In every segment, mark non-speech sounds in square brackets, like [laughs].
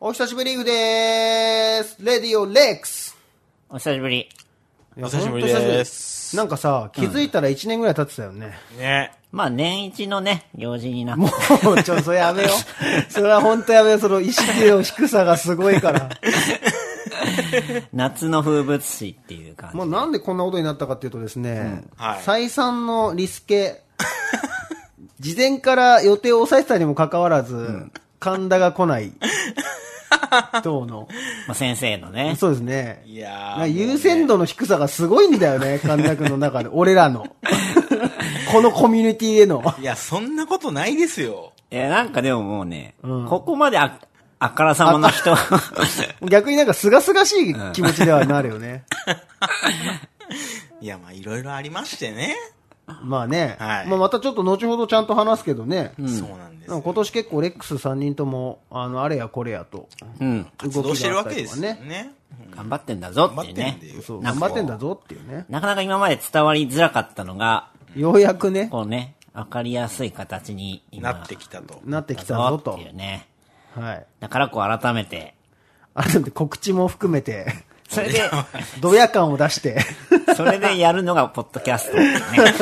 お久しぶりーぐでーすレディオレックスお久しぶり。お久しぶりですなんかさ、気づいたら1年ぐらい経ってたよね。ね。まあ、年一のね、行事になって。もう、 [laughs] ちょ、それやめよ [laughs] う。それは本当やめよう。その意識の低さがすごいから。 [laughs] 夏の風物詩っていう感じ。もうなんでこんなことになったかっていうとですね、はい再三のリスケ、事前から予定を抑えてたにもかかわらず、神田が来ない、等 [laughs] の。まあ、先生のね。そうですね。いやなんーか優先度の低さがすごいんだよ [laughs] ね、神田君の中で。俺らの。このコミュニティへの。いや、そんなことないですよ。いや、なんかでももうね、ここまであ、あからさまな人。逆になんか清々しい気持ちではなるよね。いや、まあ、いろいろありましてね。まあね。はいまあまたちょっと後ほどちゃんと話すけどね。そうなんですなんかよ。今年結構レックス3人とも、あの、あれやこれやと、 [laughs] うん。活動してるわけです動きよがあったりとかね。頑張ってんだぞっていう頑張っねてんだ。よそう、なん頑か張ってんだぞっていうね。なかなか今まで伝わりづらかったのが、ようやくね、こうね、わかりやすい形に今なってきたと。なってきたぞだぞっとてい。うね。はい。だからこう改めて。あとで告知も含め [laughs] て、そ [laughs] れで、ドヤ感を出して、 [laughs] それでやるのがポッドキャストっていうね。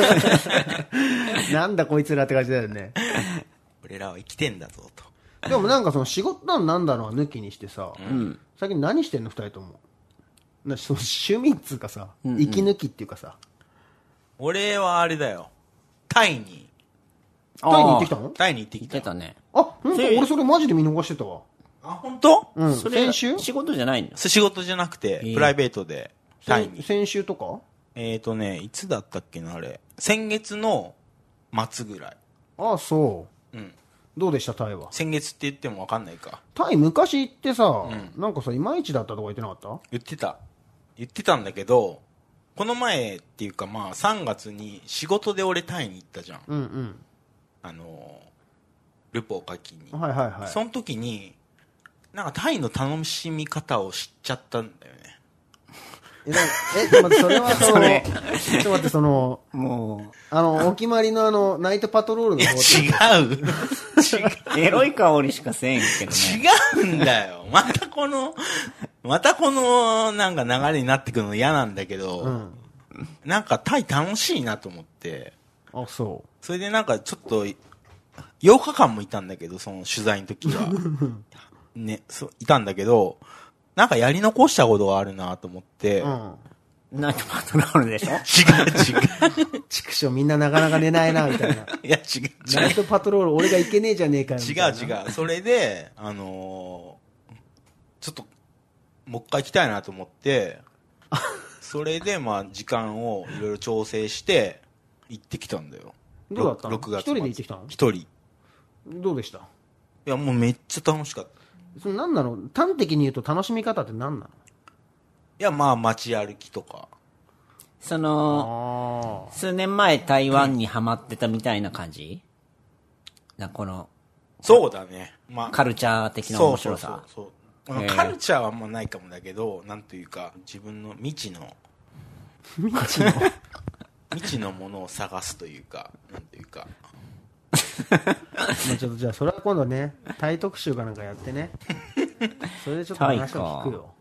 なんだこいつらって感じだよね。俺らは生きてんだぞと。でもなんかその仕事なんなんだろう抜きにしてさ、最近何してんの二人とも。なその趣味っつうかさ、息抜きっていうかさ、俺はあれだよ。タイに。 [laughs] タイに行ってき [laughs] たのタイに行って言きってた。たね。あ、本当せい俺それマジで見逃してたわ。あ、本当？うん、それ先週仕事じゃないんです。仕事じゃなくて、ープライベートで、タイ先に。先週とかえーとね、いつだったっけな、あれ。先月の末ぐらい。ああ、そう。うん。どうでしたタイは。先月って言ってもわかんないか。タイ昔行ってさ、なんかさ、いまいちだったとか言ってなかった言ってた言ってたんだけどこの前っていうかまあ3月に仕事で俺タイに行ったじゃんうんあのールポを書きに、うん。はいはいはい。その時になんかタイの楽しみ方を知っちゃったんだよねえ、なえちょっと待って、それは [laughs] その、それちょっと待って、その、もあの、お決まりのあの、ナイトパトロールの [laughs] 方違う [laughs] う、 [laughs] エロい香りしかせんけどね。違うんだよまたこのまたこのなんか流れになってくるの嫌なんだけど、うん。なんかタイ楽しいなと思ってあ、そそれでなんかちょっと、8日間もいたんだけど、その取材の時 [laughs] は。ね、そう、いたんだけど、なんかやり残したことがあるなと思って、う。うん。ナイトパトロールでしょ違う違畜生みんななかなか寝ないな、みたいな。う。いや、 [laughs] 違う違ナイトパトロール俺が行けねえじゃねえかよ。みたう。い違な。う違う。それで、あのーちょっと、もう一回行きたいなと思って、それで、まあ、時間をいろいろ調整して、行ってきたんだよ。どうだったの6月末一人で行ってきたの一人。いどうでしたや、もうめっちゃ楽しかった。その何なの端的に言うと楽しみ方って何ないや、まあ、街歩きとか。その、のあ数年前台湾にハマってたみたいな感じな、この、そうだね。まあ、カルチャー的なそ面うそ白うそうさ。そうえーカルチャーはあんまないかもだけど、なんというか、自分の未知の、 [laughs] 未知のものを探すというか、なんというか。あ。まあちょっとじゃあそれは今度ね、タイ特集かなんかやって [laughs] ね。それでちょっと話を聞くよ。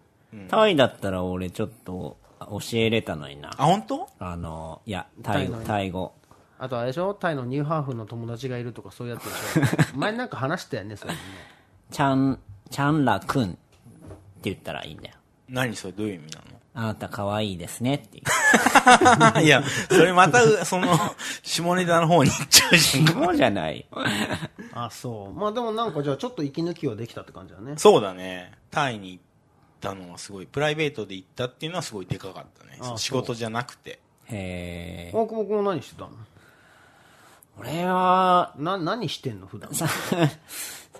タイだったら俺ちょっと教えれたのにな。あ、本当？あの、いや、タイ語、タイ語。あとあれでしょタイのニューハーフの友達がいるとかそういうやつで [laughs] しょ前なんか話したよね、それね。チャン、チャンラくんって言ったらいいんだよ。何それどういう意味あなた可愛いですねっていう。なの [laughs] いや、それまた、うその、下ネタの方に行っちゃうじゃん。 [laughs] そうじゃない。あ、そう。まあでもなんかじゃあちょっと息抜きはできたって感じだね。そうだね。タイに行ったのはすごい、プライベートで行ったっていうのはすごいでかかったね。あそう仕事じゃなくて。えー、大久保君は何してたの俺は、な、何してんの普段。さ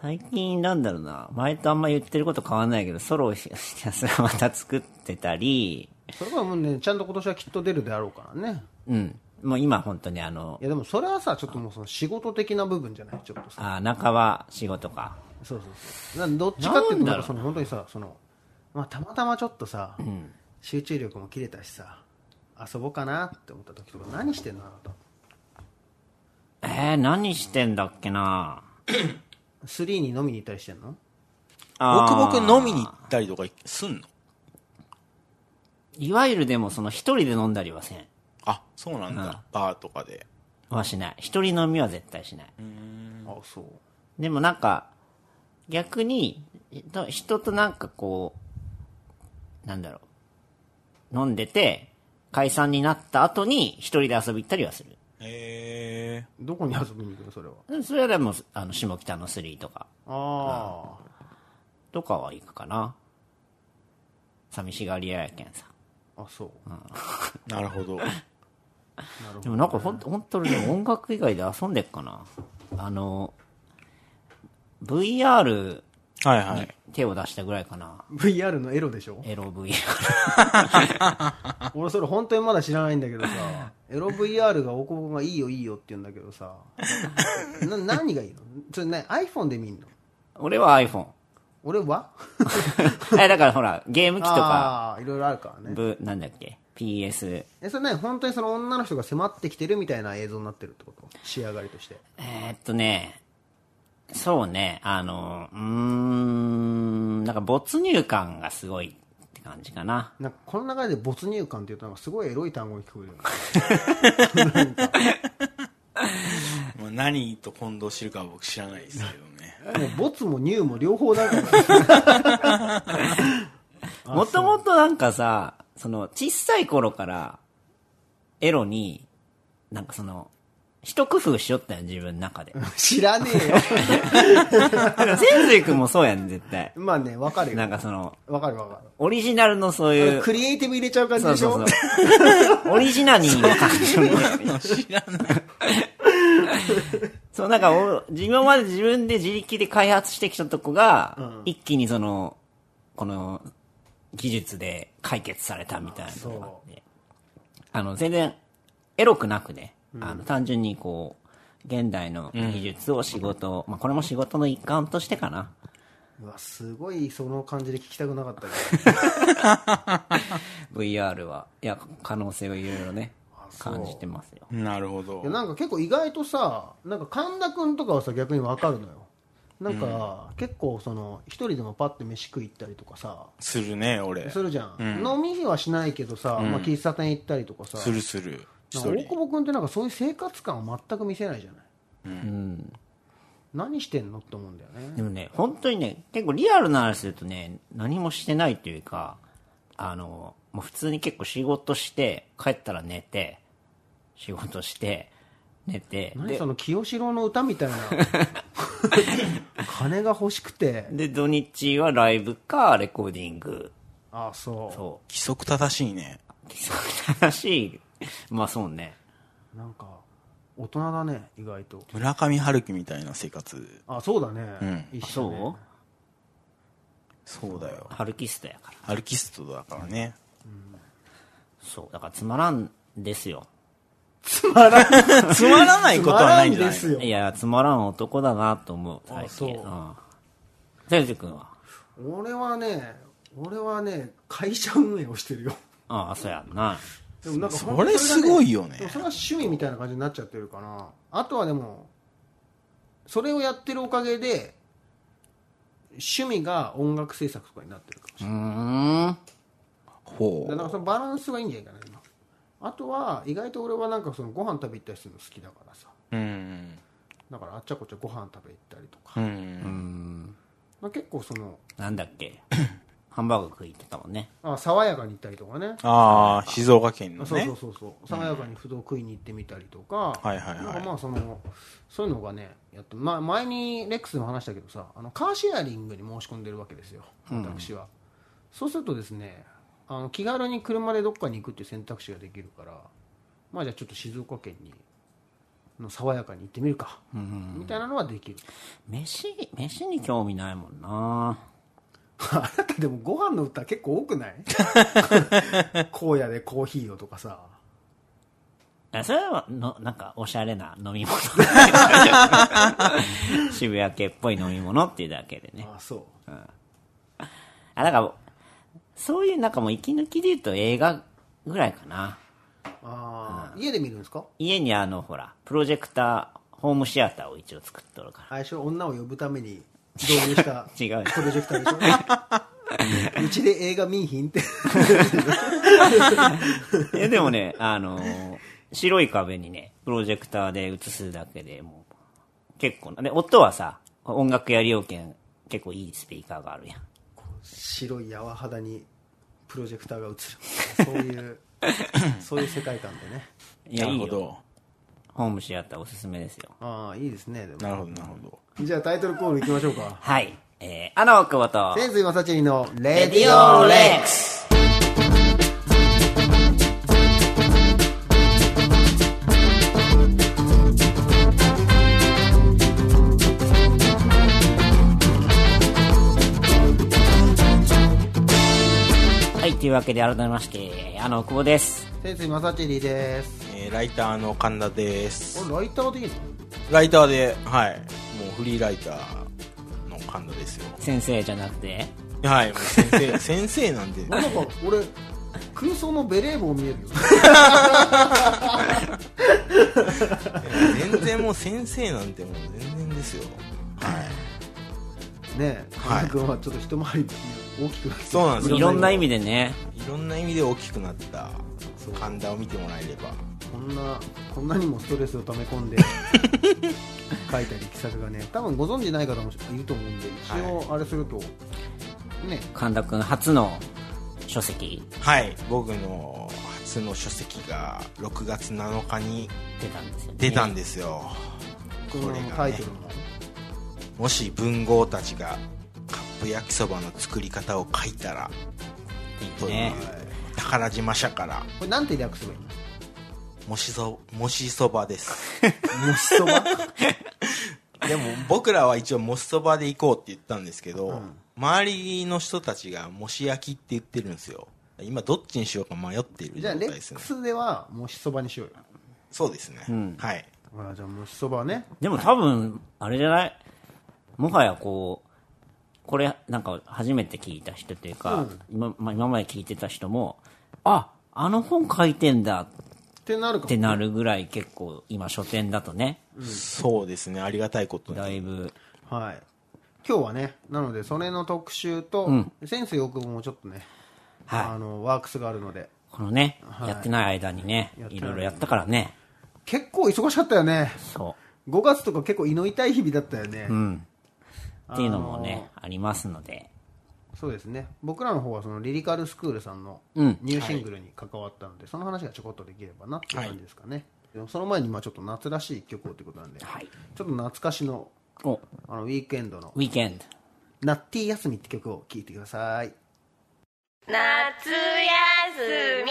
最近なんだろうな、前とあんま言ってること変わんないけど、ソロをひたすらまた作ってたり、それはもうね、ちゃんと今年はきっと出るであろうからね。うん。もう今本当にあのい、やでもそれはさ、ちょっともうその仕事的な部分じゃないちょっとさ。あ中は仕事か。そうそうそう。なんどっちかっていうと、なんだなんろかうその本当にさ、その、まあたまたまちょっとさ、集中力も切れたしさ、遊ぼうかなって思った時とか何してんのあなた。えー、何してんだっけな3に飲みに行ったりしてんのあ僕ー僕飲みに行ったりとかすんのいわゆるでもその一人で飲んだりはせん。あ、そうなんだ。うんバーとかで。はしない。一人飲みは絶対しない。あ、そう。でもなんか、逆に、と人となんかこう、なんだろう。飲んでて、解散になった後に一人で遊び行ったりはする。えどこに遊びに行くのそれは。うんそれはでも、あの、下北の3とか、あとかは行くかな。寂しがり屋やけんさ。あ。あ、そう。ー、なるほど。でもなんかほんと、ほんとにね音楽以外で遊んでっかな。あの、VR はいはい。手を出したぐらいかな。 VR のエロでしょエロ VR。俺それ本当にまだ知らないんだけど [laughs] さ、エロ VR が大久保がいいよいいよって言うんだけどさ、な何がいいのそれ、ね、iPhone で見んの俺は iPhone。 [laughs] 俺はえ、だからほら、ゲーム機とか、ああ、いろいろあるからね。ぶ、なんだっけ ?PS。え、それね、本当にその女の人が迫ってきてるみたいな映像になってるってこと仕上がりとして。えーっとね、そうね、あの、うーん、なんか没入感がすごいって感じかな。なんかこの中で没入感って言うとなんかすごいエロい単語に聞こえるよね。まあ、何と混同してるかは僕知らないですけどね。もう没も入も両方だから、 [laughs] もともとなんかさ、その、小さい頃から、エロに、なんかその、一工夫しよったよ、自分の中で。 [laughs] 知らねえよ。なんか泉水君もそうやん、絶対。まあね、わかるなよん。かその、わかるわかオリジナルのそういる。う、クリエイティブ入れちゃう感じそでうしょそうそう。オリジナリーな感じの知らない。そう、なんかお、自分まで自分で自力で開発してきたとこが、一気にその、この、技術で解決されたみたいなのがあって。あの、全然、エロくなくね。あの、単純にこう、現代の技術を仕事、まあ、これも仕事の一環としてかな。うわ、すごいその感じで聞きたくなかったけど。 VR は。いや、可能性をいろいろね、そう感じてますよ。なるほどいや。なんか結構意外とさなんか神田君とかはさ逆にわかるのよなんか、結構その一人でもパッて飯食い行ったりとかさするね、俺。するじゃん、飲みにはしないけどさ、まあ、喫茶店行ったりとかさするする。一なんか大人。久保君ってなんかそういう生活感を全く見せないじゃない、何してんのって思うんだよねでもね、本当にね、結構リアルな話するとね、何もしてないというか、あの、もう普通に結構仕事して、帰ったら寝て、仕事して、寝て、何でその清志郎の歌みたいな金が欲しくてで、土日はライブか、レコーディング。ああそうそ規則正しいね。う。正しい。まあそうね。なんか大人だね意外と村上春樹みたいな生活。あそうだね、う一緒ねそそうだよう。ハルキストやから。アルキストだからね。そう。だからつまらんですよ。つまらないことはないんじゃないつまらんですいよや、つまらん男だなと思う、最近。うん。先生君は俺はね俺はね会社運営をしてるよああ、そうやんな。でもなんかそれすごいよねでもそれは趣味みたいな感じになっちゃってるかなあとはでもそれをやってるおかげで趣味が音楽制作とかになってるかもしうれないーん。ほだからなんかそのバランスがいいんじゃないかな今あとは意外と俺はなんかそのご飯食べ行ったりするの好きだからさう。うん。だからあっちゃこっちゃご飯食べ行ったりとか、うん。まあ結構そのなんだっ [laughs] けハンバーグ食いってたもんね。あ爽やかに行ったりとかねああ、静岡県のそうねそう。そうそう爽やかに不動食いに行ってみたりとか、はいはいはいなんかまあそのそういうのがねやって、まあ、前にレックスの話だけどさあのカーシェアリングに申し込んでるわけですよ私は、そうするとですねあの気軽に車でどっかに行くっていう選択肢ができるからまあじゃあちょっと静岡県にの爽やかに行ってみるか、みたいなのはできる飯、飯に興味ないもんなあなたでもご飯の歌結構多くない [laughs] 荒野でコーヒーをとかさあそれは、の、なんか、おしゃれな飲 [laughs] み物。渋谷系っぽい飲み物っていうだけでね。あそうあ、だから、そういうなんかもう息抜きで言うと映画ぐらいかな。あー家で見るんですか家にあの、ほら、プロジェクター、ホームシアターを一応作っとるから。最初女を呼ぶために導入した違うプロジェクターでし [laughs] ょうちで映画見いひんっていやでもね、あのー白い壁にね、プロジェクターで映すだけでもう、結構な、で、音はさ、音楽やりようけん、結構いいスピーカーがあるやん。白い柔肌にプロジェクターが映るそう [laughs] いうそういう世界観でねいなや、いるいほよ。ど。ホームシアターおすすめですよ。ああいいですねでなもるほど、なるほど。じゃあタイトルコールいきましょうかはい。えー、アナオクボと、天水正知のレレデディィオオレレッッククスはい、というわけで改めまして、アナオクボです。天水正知ですえーライターの神田です。おライターでいいのライターで、はい。もうフリーライターの神田ですよ。先生じゃなくて、はい、もう先生、 [laughs] 先生なんで。なんか俺空想のベレー帽 [laughs] 見えるよ全然もう先生なんてもう全然ですよ。はい。ねえは神い田君はちょっと一回り大きくなってそうなんですよ。いろんな意味でね、いろんな意味で大きくなった神田を見てもらえれば。こんなこんなにもストレスを溜め込んで書いた力作がね多分ご存じない方もいると思うんで一応あれすると、ね神田くん初の書籍はい、僕の初の書籍が6月7日に出たんですよね。出たんですよ。ここのれがタイねトル、も、もし文豪たちがカップ焼きそばの作り方を書いたらというね。宝島社からこれなんて略すればいいのもしそもしそばですもしそばでも僕らは一応もしそばで行こうって言ったんですけど、うん周りの人たちがもし焼きって言ってるんですよ今どっちにしようか迷っている [laughs] じ状ゃあ態レでッすクねスではもしそばにしようよそうですね、んはいあーじゃあもしそばねでも多分、あれじゃないもはやこう、これなんか初めて聞いた人というか、うん今まあ、今まで聞いてた人も、あ、あの本書いてんだってなるかっもてなるぐらい結構今書店だとね、そうですねありがたいことにだいぶ、はい今日はねなのでそれの特集と、センスよくもちょっとね、はあのワークスがあるのでい。このね、はいやってない間にねやっ、てないいろいろやったからね、結構忙しかったよねそ5月とか結構胃の痛い日々だったよね、う。うん。っていうのもあね、ありますので、そうですね僕らの方はそのリリカルスクールさんのうんニューシングルに関わったので、その話がちょこっとできればなっていう感じですかね、でもその前にまあちょっと夏らしい曲をということなんで、はい。ちょっと懐かしのお、あのウィークエンドのウィークエンド。 「ナッティ休み」って曲を聴いてください夏休み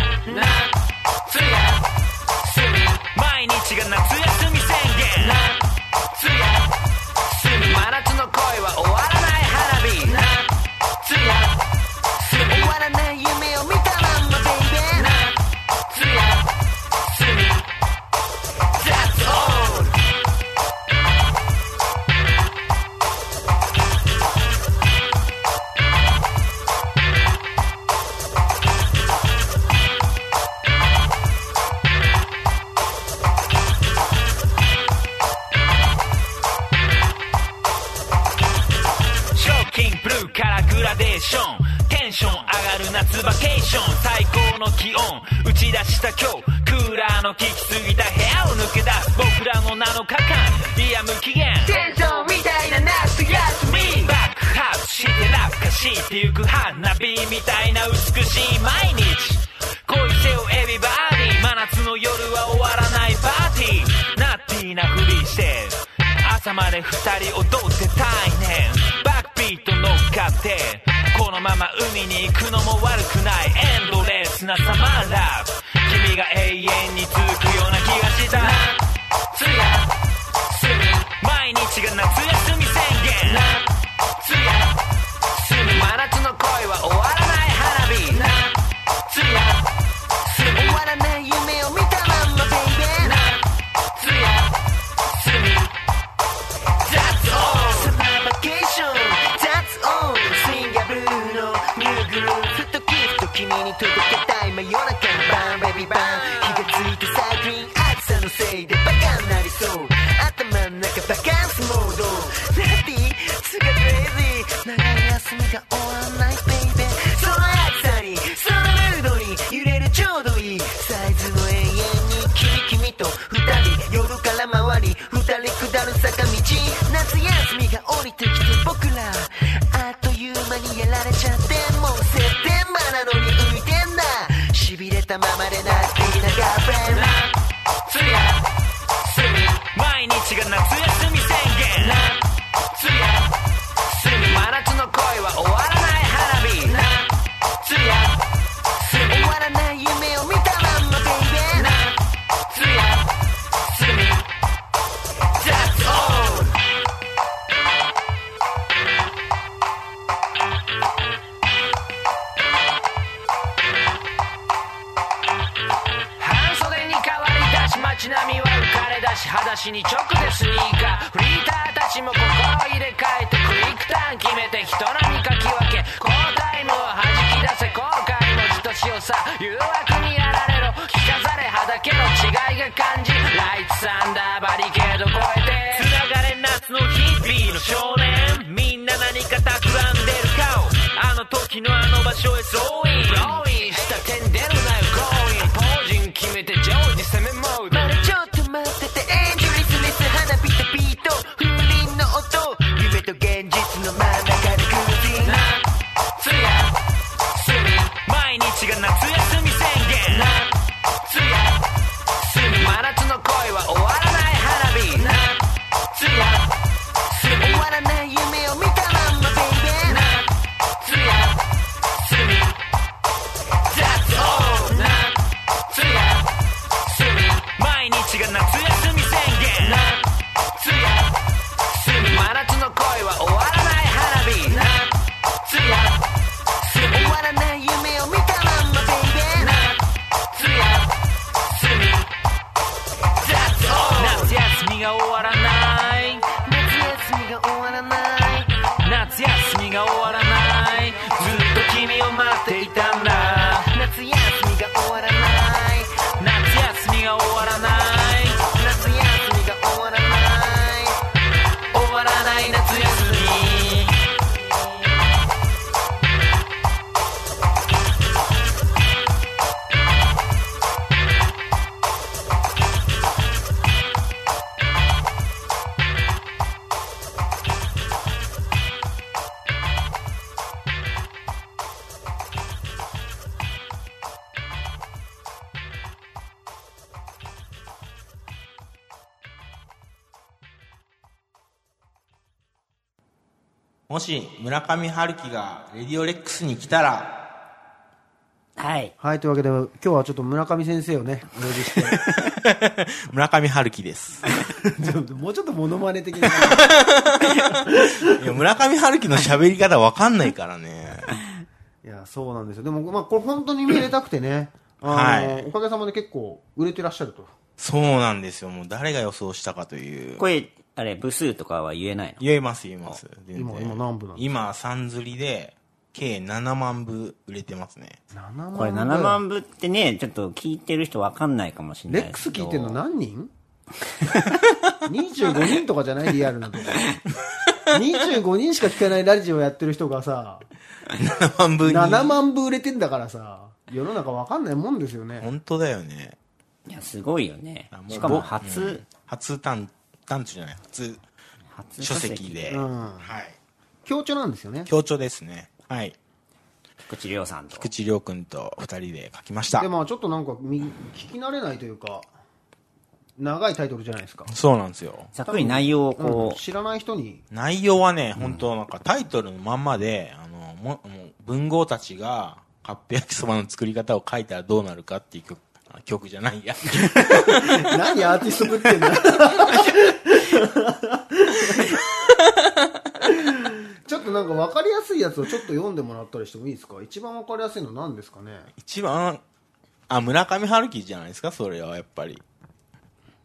夏休み毎日が夏休み宣言夏休み真夏の恋は終わらない花火夏休み終わらない夢を見たまんまベイベー夏休み That's all 賞金ブルーからグラデーションテンション上がる夏バケーション最高の気温打ち出した今日クーラーの効きすぎた部屋を抜け出す僕らの7日間いや無期限テンションみたいな夏休みバックハウスして懐かしいってゆく花火みたいな美しい毎日恋せよエビバディ真夏の夜は終わらないパーティーナッティーなふりして朝まで二人踊ってたいねバックビート乗っかってこのまま海に行くのも悪くないエンドレスなサマーラブ君が永遠に続くような気がした夏休み毎日が夏休み宣言夏休み真夏の恋は終わらない花火夏休み終わらない夢を見たまんまベイベー夏休み足に直でスニーカーフリーターたちも心入れ替えてクイックターン決めて人並みかき分け好タイムを弾き出せ後悔のじとしをさ誘惑にやられろ着飾れはだけの違いが感じライツサンダーバリケード越えて繋がれ夏の日々の少年みんな何か企んでる顔あの時のあの場所へ総員ローインした点出るなよゴーインポージン決めて常時攻めモードまだちょっと待っててエンジュリスレス花火とビート風鈴の音夢と現実の真ん中でクルージング夏休み毎日が夏休み宣言夏休み真夏の恋は終わらない花火夏休み終わらない夢を見たまんまベイベー That's all 夏休み毎日が夏休み宣言夏休み真夏の恋は終わらない花火夏休み終わらない夢を見たまんまベイベー夏休みが終わらない夏休みが終わらない夏休みが終わらないずっと君を待っていたんだ夏休みが終わらない夏休みが終わらない夏休みが終わらない終わらない夏休みもし、村上春樹が、レディオレックスに来たら、はい。はいというわけで今日はちょっと村上先生をねお呼びして村上春樹です。 [laughs] [laughs] ちょっともうちょっとモノマネ的ないや、村上春樹の喋り方わかんないからね。いやそうなんですよでも、まあ、これ本当に見れたくてねあの、はいおかげさまで結構売れてらっしゃるとそうなんですよ。もう誰が予想したかという。これ、あれ、部数とかは言えないの言えます、言えます。全今然今何部なんです今、3釣りで、計7万部売れてますね。 7万これ7万部ってね、ちょっと聞いてる人わかんないかもしれなレいックですスけ聞ど。いてんの何人 [laughs] ?25 人とかじゃないリアルなとこ25人しか聞かないラジオやってる人がさ7万部に。 7万部売れてんだからさ世の中わかんないもんですよね本当だよね。いや、すごいよねあ。もうしかもぼ初、うん初単、単調じゃない、初初書籍。で。うんはい。強調なんですよね強調ですね。はい。菊池亮さんと。菊池亮君と二人で書きましたで。まあちょっとなんかみ聞き慣れないというか長いタイトルじゃないですかそうなんですよ。ざっくり内容をうんこう、知らない人に内容はね、本当なんかタイトルのまんまで、あの、も、もう文豪たちが、カップ焼きそばの作り方を書いたらどうなるかっていう曲、あ曲じゃないや。 [laughs] 何アーティストぶってんだちょっとなんか分かりやすいやつをちょっと読んでもらったりしてもいいですか一番分かりやすいの何ですかね一番、あ、村上春樹じゃないですか、それはやっぱり。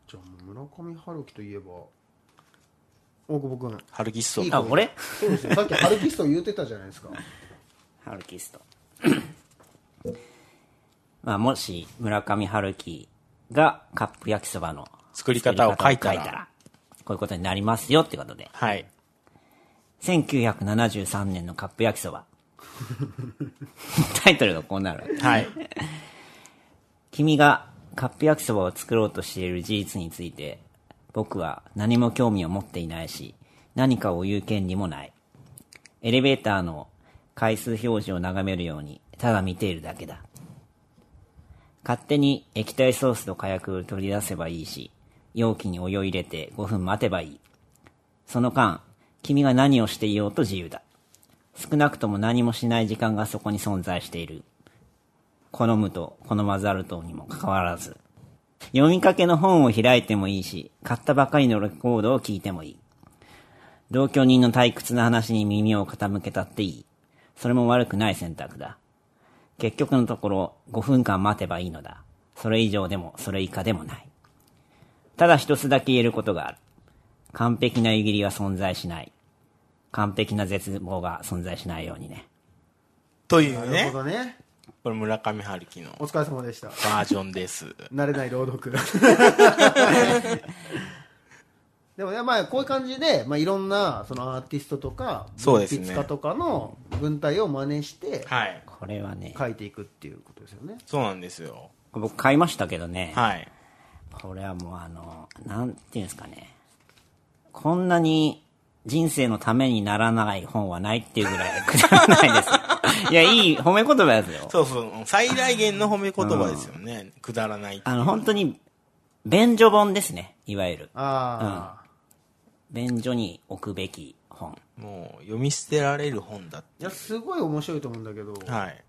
じゃあもう村上春樹といえば大久保君春樹思いい想。あ、俺そうですよさっき春樹スト言ってたじゃないですかハルキスト。 [coughs] まあ、もし、村上春樹がカップ焼きそばの作り方を書い作たらり方をこういうことになりますよってことで。はい。 1973年のカップ焼きそ [laughs] ば。タイトルがこうなる。はい。君がカップ焼きそばを作ろうとしている事実について、僕は何も興味を持っていないし、何かを言う権利もない。エレベーターの回数表示を眺めるように、ただ見ているだけだ。勝手に液体ソースと火薬を取り出せばいいし、容器にお湯を入れて5分待てばいい。その間、君が何をしていようと自由だ。少なくとも何もしない時間がそこに存在している。好むと好まざるとにもかかわらず。読みかけの本を開いてもいいし、買ったばかりのレコードを聞いてもいい。同居人の退屈な話に耳を傾けたっていい。それも悪くない選択だ。結局のところ5分間待てばいいのだ。それ以上でもそれ以下でもない。ただ一つだけ言えることがある。完璧な湯切りは存在しない。完璧な絶望が存在しないようにね。というなるねほ、どね。これ村上春樹のお疲れ様でした。バージョンです。慣れない朗 [laughs] 読。でもね、まあ、こういう感じで、まあ、いろんな、そのアーティストとか、そうですね文筆家とかの文体を真似して、はい。これはね、書いていくっていうことですよね。そうなんですよ。僕買いましたけどね。はい。これはもうあの、なんていうんですかね。こんなに人生のためにならない本はないっていうぐらいくだらないです。いや、いい褒め言葉ですよ。そうそう、最大限の褒め言葉ですよね。くだらない。あの、本当に、便所本ですね。いわゆる。ああ、便所に置くべき本。もう、読み捨てられる本だっいや、すごい面白いと思うんだけど、て。はい。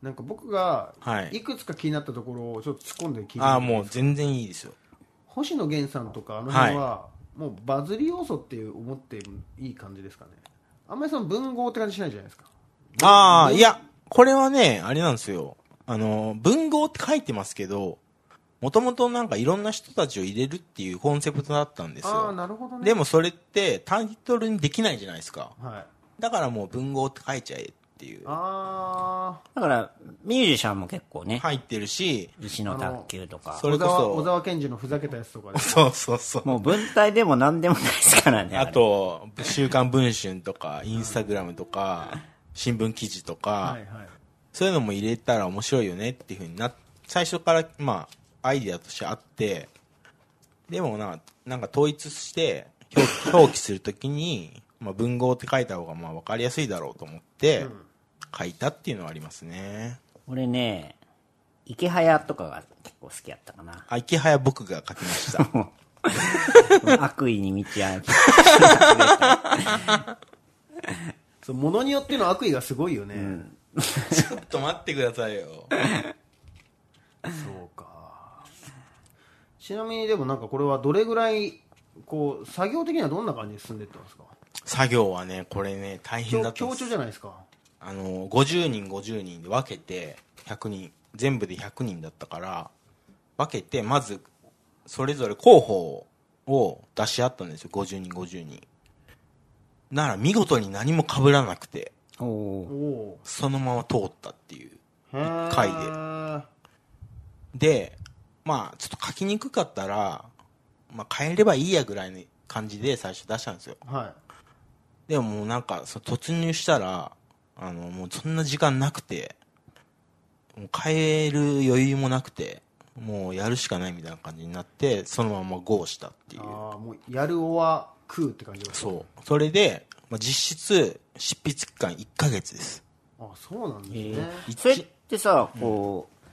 なんか僕がは、いいくつか気になったところをちょっと突っ込んで聞いてみてああ、もう全然いいですよ。星野源さんとかあの辺は、もうバズり要素っていう思っていい感じですかねあんまりその文豪って感じしないじゃないですかああ、いや、これはね、あれなんですよ。あの、文豪って書いてますけど、もともとなんかいろんな人たちを入れるっていうコンセプトだったんですああよ。なるほどねでもそれってタイトルにできないじゃないですか。はいだからもう文豪って書いちゃえっていう。あだから、ミュージシャンも結構ね、入ってるし、石の卓球とかあそ。れこ小沢そ小沢健二のふざけたやつとかで [laughs] そうそうそう。もう文体でも何でもないですからね。 [laughs] あれ、と、週刊文春とか、インスタグラムとか、新聞記事とか、はいはいそういうのも入れたら面白いよねっていうふうになっ、最初から、まあ、アイデアとしてあって、でもな、なんか統一して、表 [coughs] 記表記するときに、まあ、文豪って書いた方がまあ分かりやすいだろうと思って、書いたっていうのはありますね。俺ね、池早とかが結構好きやったかな。あ、池早僕が書きました。 [laughs] 悪意に満ちある。そうものによっての悪意がすごいよね、 [laughs] ちょっと待ってくださいよ。そうかちなみにでもなんかこれはどれぐらいこう作業的にはどんな感じで進んでいったんですか [laughs] 作業はね、これね、大変だったん強です調じゃないですかあの、50人50人で分けて、100人、全部で100人だったから、分けて、まず、それぞれ候補を出し合ったんですよ、50人50人。なら見事に何も被らなくて、おおお。おそのまま通ったっていう。ーへー一回で、まあ、ちょっと書きにくかったら、まあ、変えればいいやぐらいの感じで最初出したんですよ。はいでももうなんか、その突入したら、あの、もうそんな時間なくて、もう帰る余裕もなくて、もうやるしかないみたいな感じになって、そのまま GO したっていう。ああもうやるおは食うって感じですそう。それで、まあ、実質、執筆期間1ヶ月です。あそうなんですね、一それってさ、こう、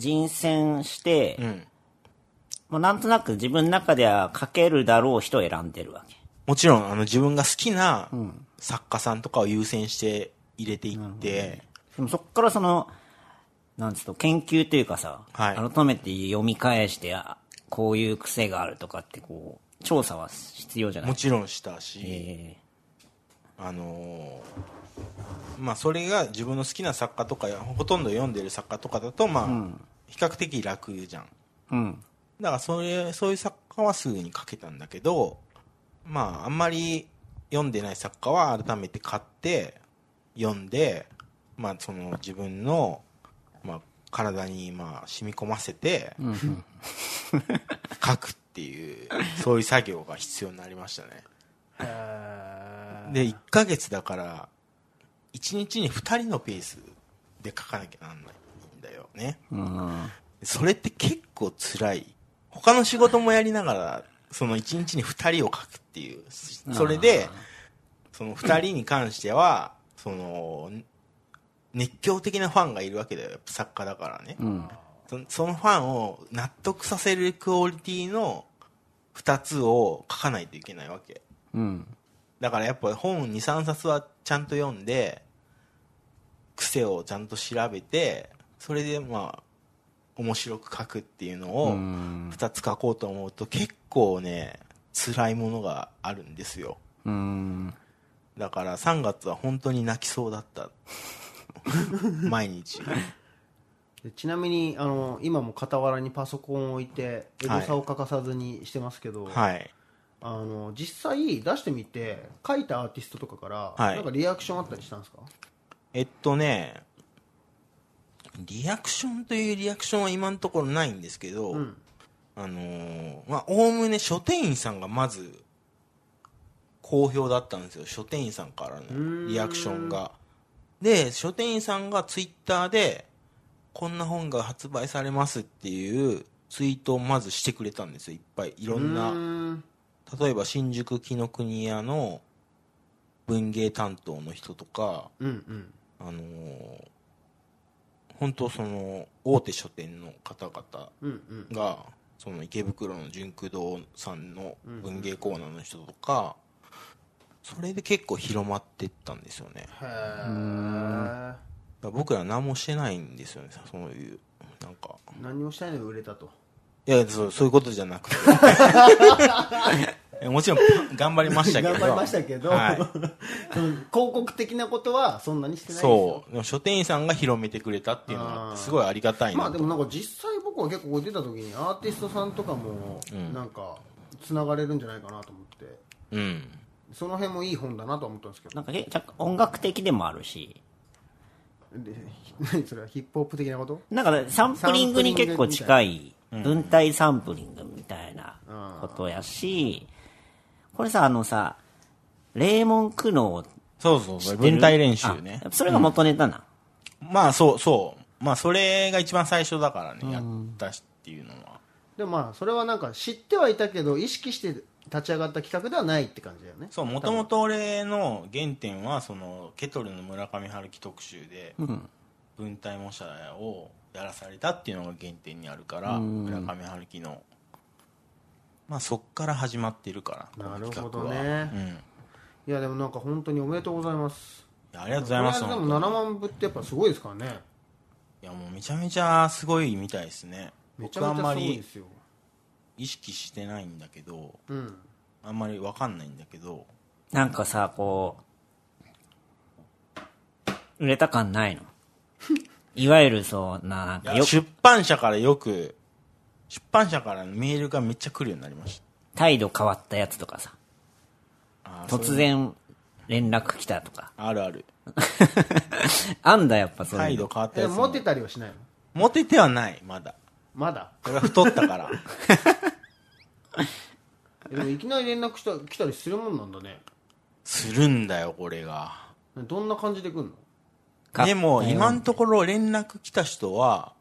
人選して、うん。もうなんとなく自分の中では書けるだろう人を選んでるわけ。もちろん、あの、自分が好きな作家さんとかを優先して入れていって、でもそっからその、なんつうと、研究というかさ、はい改めて読み返して、あこういう癖があるとかってこう、調査は必要じゃないもちろんしたし、えあのーまあそれが自分の好きな作家とかほとんど読んでる作家とかだとまあ比較的楽じゃん、えうん。だからそれそういう作家はすぐに書けたんだけどまああんまり読んでない作家は改めて買って読んでまあその自分の、まあ、体にまあ染み込ませて、書くっていうそういう作業が必要になりましたねへーで1ヶ月だから1日に2人のペースで書かなきゃなんないんだよね、うん。それって結構辛い他の仕事もやりながらその1日に2人を書くっていうそれでその2人に関してはその熱狂的なファンがいるわけだよやっぱ作家だからね、うん。そそのファンを納得させるクオリティの2つを書かないといけないわけうん。だからやっぱ本23冊はちゃんと読んで癖をちゃんと調べてそれでまあ面白く書くっていうのを2つ書こうと思うと結構ね辛いものがあるんですようん。だから3月は本当に泣きそうだった毎日でちなみにあの今も傍らにパソコンを置いてエゴサを欠かさずにしてますけど、はい。あの実際出してみて書いたアーティストとかから、はいなんかリアクションあったりしたんですかえっとね、リアクションというリアクションは今のところないんですけど、あのーまあ、おおむね書店員さんがまず、好評だったんですよ。書店員さんからのリアクションが。で、書店員さんがツイッターで、こんな本が発売されますっていうツイートをまずしてくれたんですよ。いっぱい。いろんな。うーん例えば新宿紀ノ国屋の文芸担当の人とか、うんうんあのー本当その大手書店の方々うんうんがその池袋の純駆堂さんの文芸コーナーの人とか、それで結構広まってったんですよね。へえだから僕ら何もしてないんですよね、そういう、なんか。何もしたいのに売れたといや、そうそういうことじゃな [laughs] くて。もちろん、頑張りましたけど。頑張りましたけど、 [laughs] はいその広告的なことはそんなにしてないですよそう。でも書店員さんが広めてくれたっていうのあーが、すごいありがたいまなあでと。もなんか実際僕は結構こう出た時にアーティストさんとかもんなんかつながれるんじゃないかなと思ってうん。その辺もいい本だなとは思ったんですけなどんかけ若干音楽的でもあるし、で何それはヒップホップ的なことなんかサンプリングに結構近い、文体サンプリングみたいなことやし、これさ、あのさ、レーモン苦悩そうそうそう。出る文体練習ねあ。それが元ネタな。まあ、そうそう。まあ、それが一番最初だからね、やったしっていうのは。でもまあそれはなんか知ってはいたけど意識して立ち上がった企画ではないって感じだよねそう、もともと俺の原点は、その、ケトルの村上春樹特集で、文体模写をやらされたっていうのが原点にあるから、村上春樹の。まあ、そっから始まってるから、この企画はなるほどうんいいやでもなんか本当におめでとうございますやありがとうございます。これはで本も7当に万部ってやっぱすごいですからねいやもうめちゃめちゃすごいみたいですねめちゃ僕めあんちゃますごいでりすよ意識してないんだけどうんあんまりわかんないんだけどなんかさ、こう、売れた感ない [laughs] の。いわゆるそうな、なんかいよやく出版社からよく出版社からメールがめっちゃ来るようになりまし態度変わったやつとかさ、たあー突そう然連絡来たとか。あるあるあんだやっぱそうい態うの度。変わったえやつモもテたりはしないのモテてはないまだまだ俺は太っ [laughs] たからえでもいきなり連絡した来たりするもんなんだねするんだよこれがどんな感じで来んのかでも今のところ連絡来た人は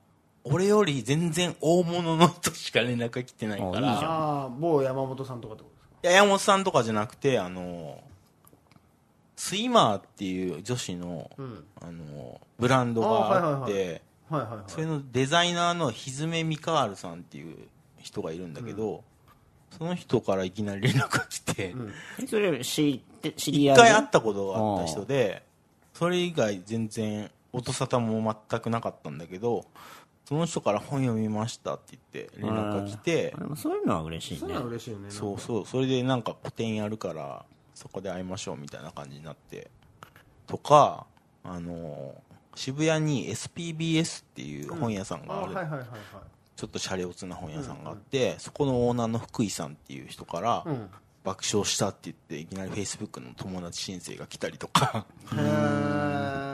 俺より全然大物の人しか連絡が来てないかあいいじらゃんああ某山本さんとかってことですかいや山本さんとかじゃなくて、あの、スイマーっていう女子の、んあの、ブランドがあっあはいはいて、はいはいはいそれのデザイナーのひずめみかわるさんっていう人がいるんだけど、その人からいきなり連絡が来て、えそれ知って、知り合一い回会ったことがあった人で、それ以外全然音沙汰も全くなかったんだけど、その人から本読みましたって言って連絡が来てあ、でもそういうのは嬉しいそういねうの。は嬉しいよねそうそうそれでなんか個展やるからそこで会いましょうみたいな感じになってとかあのー渋谷に SPBS っていう本屋さんあがあはいる、はいはいはいちょっとシャレオツな本屋さんがあって、そこのオーナーの福井さんっていう人から、うん爆笑したって言っていきなり Facebook の友達申請が来たりとか [laughs] へ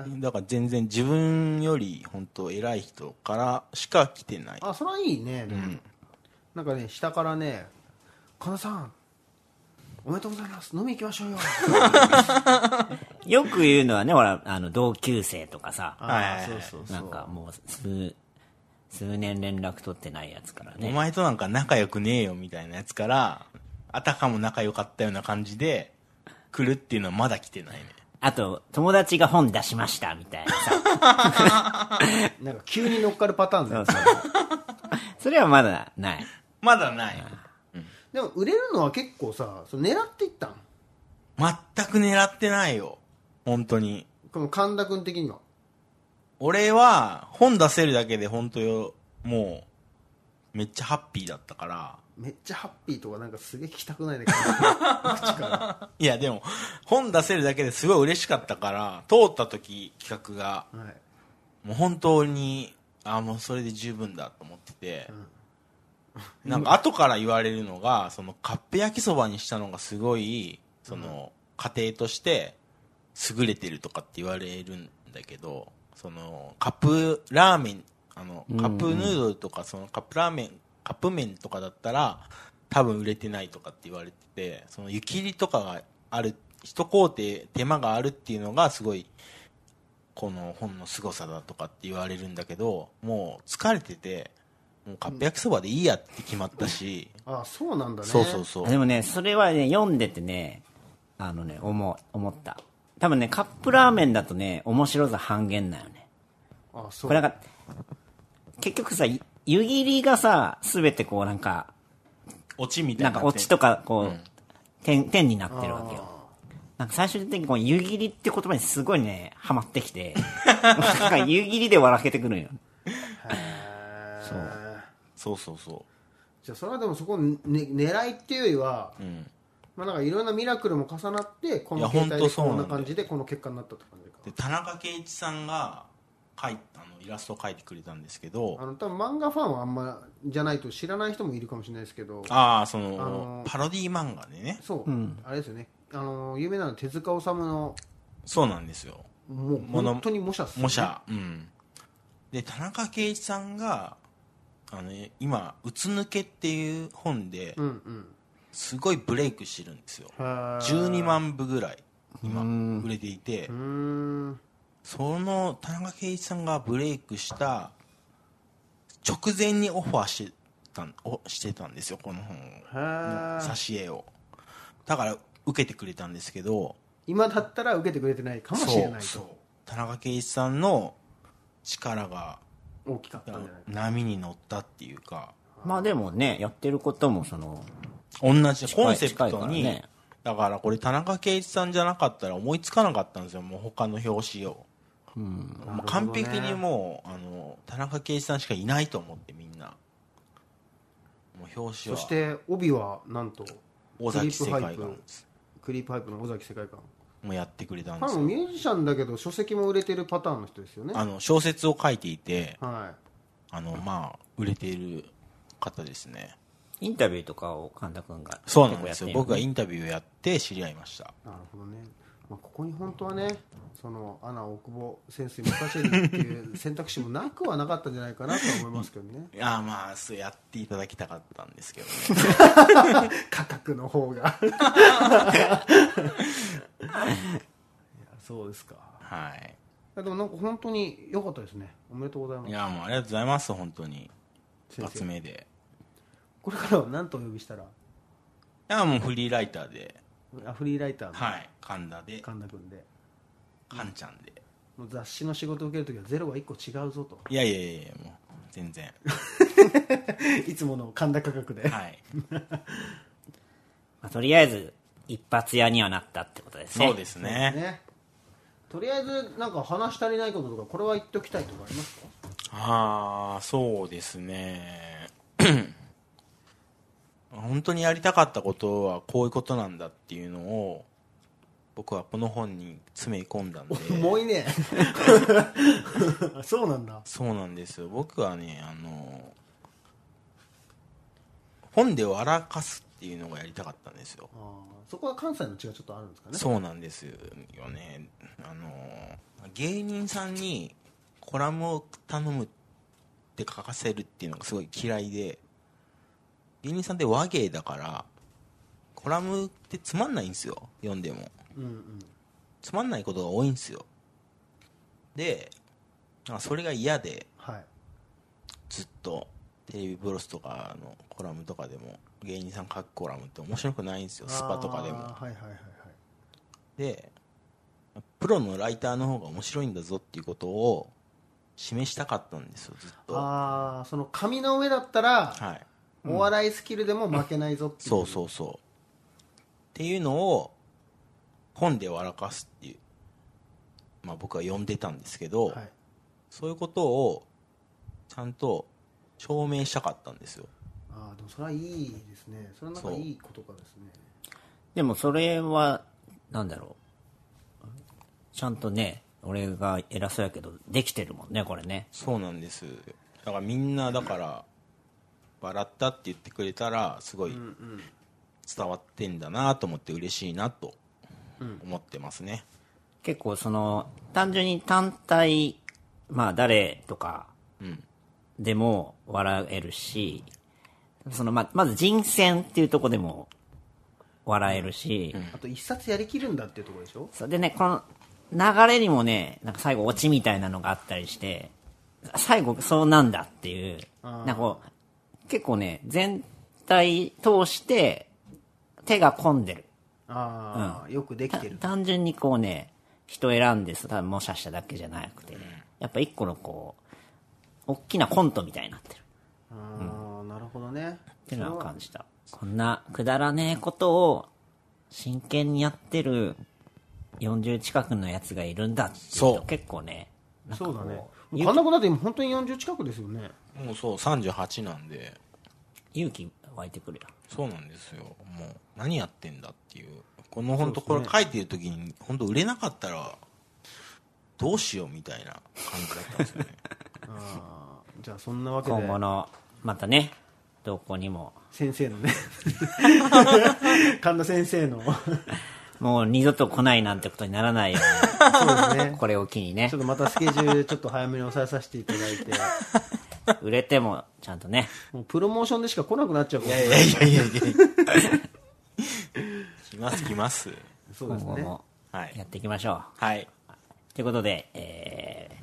えだから全然自分より本当偉い人からしか来てないあそれはいいね、なんかね下からね「かなさんおめでとうございます飲み行きましょうよ」よく言うのはね、ほら、あの、同級生とかさ、あはあいそうそうそなんうかもう、数、数年連絡取ってないやつからおね。前となんか仲良くねえよみたいなやつから、あたかも仲良かったような感じで、来るっていうのはまだ来てないね。あと、友達が本出しました、みたいな [laughs] さ。なんか急に乗っかるパターンだよそれはまだない。まだない。でも売れるのは結構さその狙っていったん全く狙ってないよ。本当に。この神田君的には俺は、本出せるだけで本当よ、もう、めっちゃハッピーだったから。めっちゃハッピーとかなんかすげえ聞きたくないね口からいやでも、本出せるだけですごい嬉しかったから、通った時企画が、はいもう本当に、あもうそれで十分だと思ってて、なんか後から言われるのがそのカップ焼きそばにしたのがすごいその、家庭として優れてるとかって言われるんだけどそのカップラーメンあのカップヌードルとかそのカップラーメンカップ麺とかだったら多分売れてないとかって言われててその湯切りとかがある一工程手間があるっていうのがすごいこの本の凄さだとかって言われるんだけどもう疲れててもうカップ焼きそばでいいやって決まったし、あそうなんだねそうそうそうでもね、それはね、読んでてね、あのね、思う、思った。多分ね、カップラーメンだとね、面白さ半減なんよね。あそこうれなんか、結局さ、い湯切りがさ、すべてこうなんか、オチみたいなんになかオチとかか、こう、点、点になってるわけよ。なんか最終的にこの湯切りって言葉にすごいね、ハマってき [laughs] て、なんか湯切りで笑けてくるんよ。へーそうそうそじゃあそれはでもそこ、ね、狙いっていうよりは、まあなんかいろんなミラクルも重なってこいのや携帯ほでんとそうなこんんだなよ感じでこの結果になったって感じかうで田中圭一さんが描いあのイラストを描いてくれたんですけどあの多分漫画ファンはあんまじゃないと知らない人もいるかもしれないですけどああその、あのーパロディ漫画でねそう、あれですよねあの有名なのは手塚治虫のそうなんですよもうもの本当に模写っすよね模写、うんで田中圭一さんがあの今「うつ抜け」っていう本でうんうんすごいブレイクしてるんですよ、へー12万部ぐらい今売れていて、うーんその田中圭一さんがブレイクした直前にオファーしてたんおしてたんですよこの本へのー挿絵をだから受けてくれたんですけど今だったら受けてくれてないかもしれないそうそうと田中圭一さんの力が大きかったんじゃないか波に乗ったっていうかまあでもね、やってることもその、同じコンセ近プいからトねに、だからこれ田中圭一さんじゃなかったら思いつかなかったんですよもう他の表紙を、もう完璧にもう、あの田中圭一さんしかいないと思ってみんなもう表紙そはして帯はなんと尾崎世界クリープハイ観プクリープハイプの尾崎世界観もやってくれたんで彼すもよミュージシャンだけど書籍も売れてるパターンの人ですよねあの小説を書いていてはあのまあ売れている方ですねインタビューとかを神田くんがそうなんですよ、結構やっ僕がてるインタビューをやって知り合いましたいなるほどね、まあ、ここに本当はねそのアナ大久保潜水武蔵にっていう選択肢もなくはなかったんじゃないかなとは思いますけどねいやまあそうやっていただきたかったんですけど [laughs] ね価格の方がいやそうですかはいでもなんか本当に良かったですねおめでとうございまいすやもうありがとうございます本当に一先発生目でこれからは何とお呼びしたらいやもうフリーライターであフリーライターのはい神田で神田君でカンちゃんでもう雑誌の仕事を受けるときはゼロは1個違うぞといやいやいやいやもう全然 [laughs] いつもの神田価格ではいまあとりあえず、一発屋にはなったってことですね。そうですねねとりあえずなんか話し足りないこととかこれは言っておきたいとかあり [laughs] ますかああそうですね [clears throat] 本当にやりたかったことはこういうことなんだっていうのを僕はこの本に詰め込んだんで重いね [laughs] そうなんだそうなんですよ僕はねあの本で笑かすっていうのがやりたかったんですよあーそこは関西の血がちょっとあるんですかねそうなんですよねあの芸人さんにコラムを頼むって書かせるっていうのがすごい嫌いで芸人さんって和芸だからコラムってつまんないんですよ読んでもうんうんつまんないことが多いんですよでなんかそれが嫌ではいずっとテレビブロスとかのコラムとかでも芸人さん書くコラムって面白くないんですよスパとかであもーはいはいはいはいでプロのライターの方が面白いんだぞっていうことを示したかったんですよずっとはああその紙の上だったら、いお笑いスキルでも負けないぞっていうそうそうそうっていうのを本で笑かすっていうまあ僕は読んでたんですけど、はい、そういうことをちゃんと証明したかったんですよああでもそれはいいですねそれはなんかそういいことかですねでもそれは、なんだろう。ちゃんとね、俺が偉そうやけど、できてるもんね、これね。そうなんですだからみんなだから笑ったって言ってくれたらすごい伝わってんだなと思って嬉しいなと思ってますね、結構その、単純に単体、まあ誰とか、でも笑えるし、そのま、まず人選っていうとこでも笑えるし、あと一冊やりきるんだっていうところでしょそれでね、この流れにもね、なんか最後オチみたいなのがあったりして、最後そうなんだっていう、なんかこう、結構ね、全体通して手が込んでる。ああ、よくできたてる単純にこうね、人選んでさ、多分模写しただけじゃなくてね、やっぱ一個のこう、大きなコントみたいになってる。ああなるほどねっていうのは感じた。こんなくだらねえことを真剣にやってる40近くのやつがいるんだっていうそとう結構ね、なんかそうだねこうもう神田君だって今本当に40近くですよねもうそう38なんで勇気湧いてくるよ。そうなんですよもう何やってんだっていうこの本当これ書いてる時に本当売れなかったらどうしようみたいな感じだったんですよねあ [laughs] ーじゃあそんなわけで今後の、またね、動向にも、先生 [laughs] のね神田先生 [laughs] のそうもう二度と来ないなんてことにならないよですうに、 [laughs] ねこれを機にねちょっ、とまたスケジュールちょっと早めに抑えさせていただ [laughs] いて売れてもちゃんとね、もうプロモーションでしか来なくなっちゃうかもしれない [laughs] いやいやいやいや [laughs] 来ます来ますそうで今す後ねもはいやっていきましょう。はいということで、えー、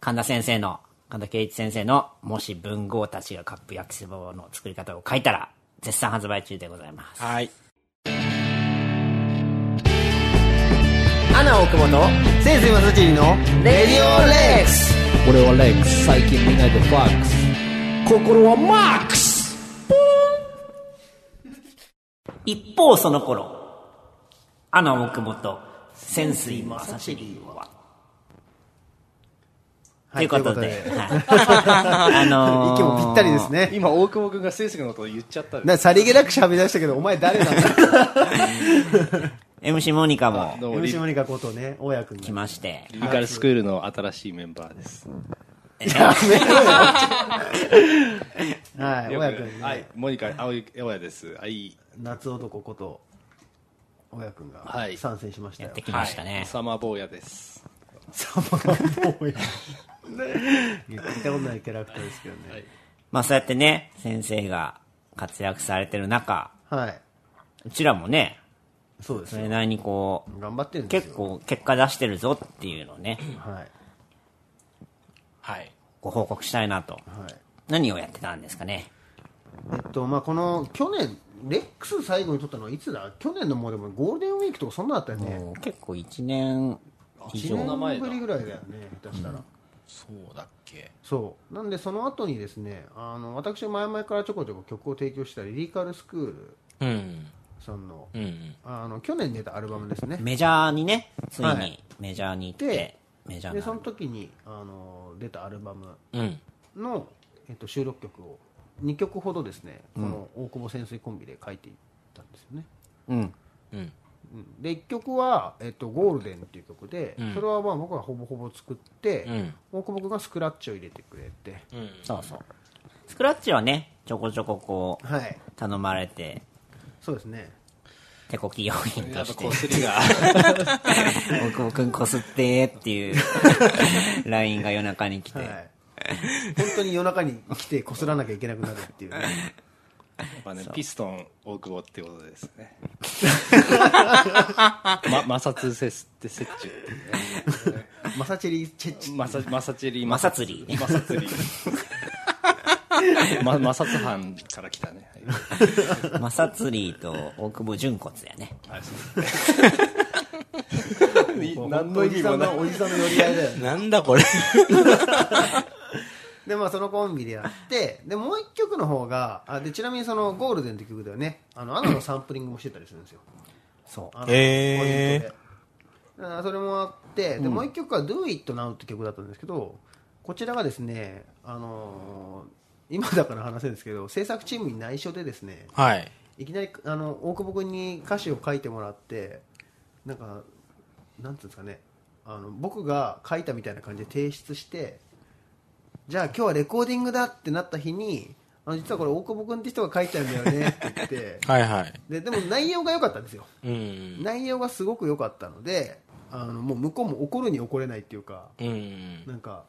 神田先生の、神田圭一先生の、もし文豪たちがカップ焼きそばの作り方を書いたら、絶賛発売中でございます。はいアナ奥本先生マサチリのレディオレックス俺はレックス最近見ないでファックス心はマックス一方その頃、アナ奥本、潜水も朝尻は、ということで、はい [laughs] あのー息もぴったりです [laughs] ね今大久保君が先生のことを言っちゃったなさりげなく喋り出したけどお前誰なんだ MC モニカも [laughs] [laughs] どうもリ MC モニカことね大家君来まして、リカルスクールの新しいメンバーですはいよ大く家君はいねモニカ青い青やですはい夏男こと大家君がはい参戦しましたやよってきましたね。サマー坊やですサマーボーイ [laughs] 言ったことないキャラクターですけどねまあそうやってね、先生が活躍されてる中、はいうちらもね、そうですそれねなりにこう、頑張ってるんです結よ構結果出してるぞっていうのをね、はいはいご報告したいなと。はい何をやってたんですかね。えっとまあこの去年レックス最後に撮ったのはいつだ去年のもうでもゴールデンウィークとかそんなだったよねもう結構1年以1上。年ぶりぐらいだよね下手したら、そうだっけそうなんでその後にですねあの私前々からちょこちょこ曲を提供したリリカルスクールうんさんの,、うんあの去年出たアルバムですねメジャーにね、ついはにメジャーに行って、でメジャーでなその時にあの出たアルバムうんの、えっと、収録曲を2曲ほどですねこの大久保潜水コンビで書いていったんですよね、うん。うんうんで1曲は、えっと「ゴールデン」っていう曲で、んそれはまあ僕がほぼほぼ作って、ん大久保君がスクラッチを入れてくれて、うんそうそう。スクラッチはね、ちょこちょここう、はい頼まれて、そうですね手こき要員やとっぱしてこ、すりが大久保くんこすってーっ [laughs] ていうラインが夜中に来て、はい本当に夜中に来てこすらなきゃいけなくなるっていうね [laughs] やっぱねピストン大久保ってことです [laughs] ねま摩擦せって接中っていうねマサチェリーチェッチマサマサチェリー摩擦リー摩擦 [laughs] リーま摩擦班から来たね、はいマサツリーと大久保純骨やね。何の意味もないおじさんの寄り合いだよねなんだこれでまあそのコンビでやってでもう一曲の方があでちなみにその「ゴールデン」って曲ではねあのアナのサンプリングもしてたりするんですよそう。あのへーポイントであーそれもあってで、もう一曲は「Do It Now」って曲だったんですけどこちらがですね、あのー今だから話せるんですけど制作チームに内緒でですねはいいきなりあの大久保君に歌詞を書いてもらってなんかなんていうんですかねあの僕が書いたみたいな感じで提出してじゃあ今日はレコーディングだってなった日にあの実はこれ大久保君って人が書いたんだよねって言ってはいはい。ででも内容が良かったんですようん。内容がすごく良かったのであのもう向こうも怒るに怒れないっていうかうん。なんか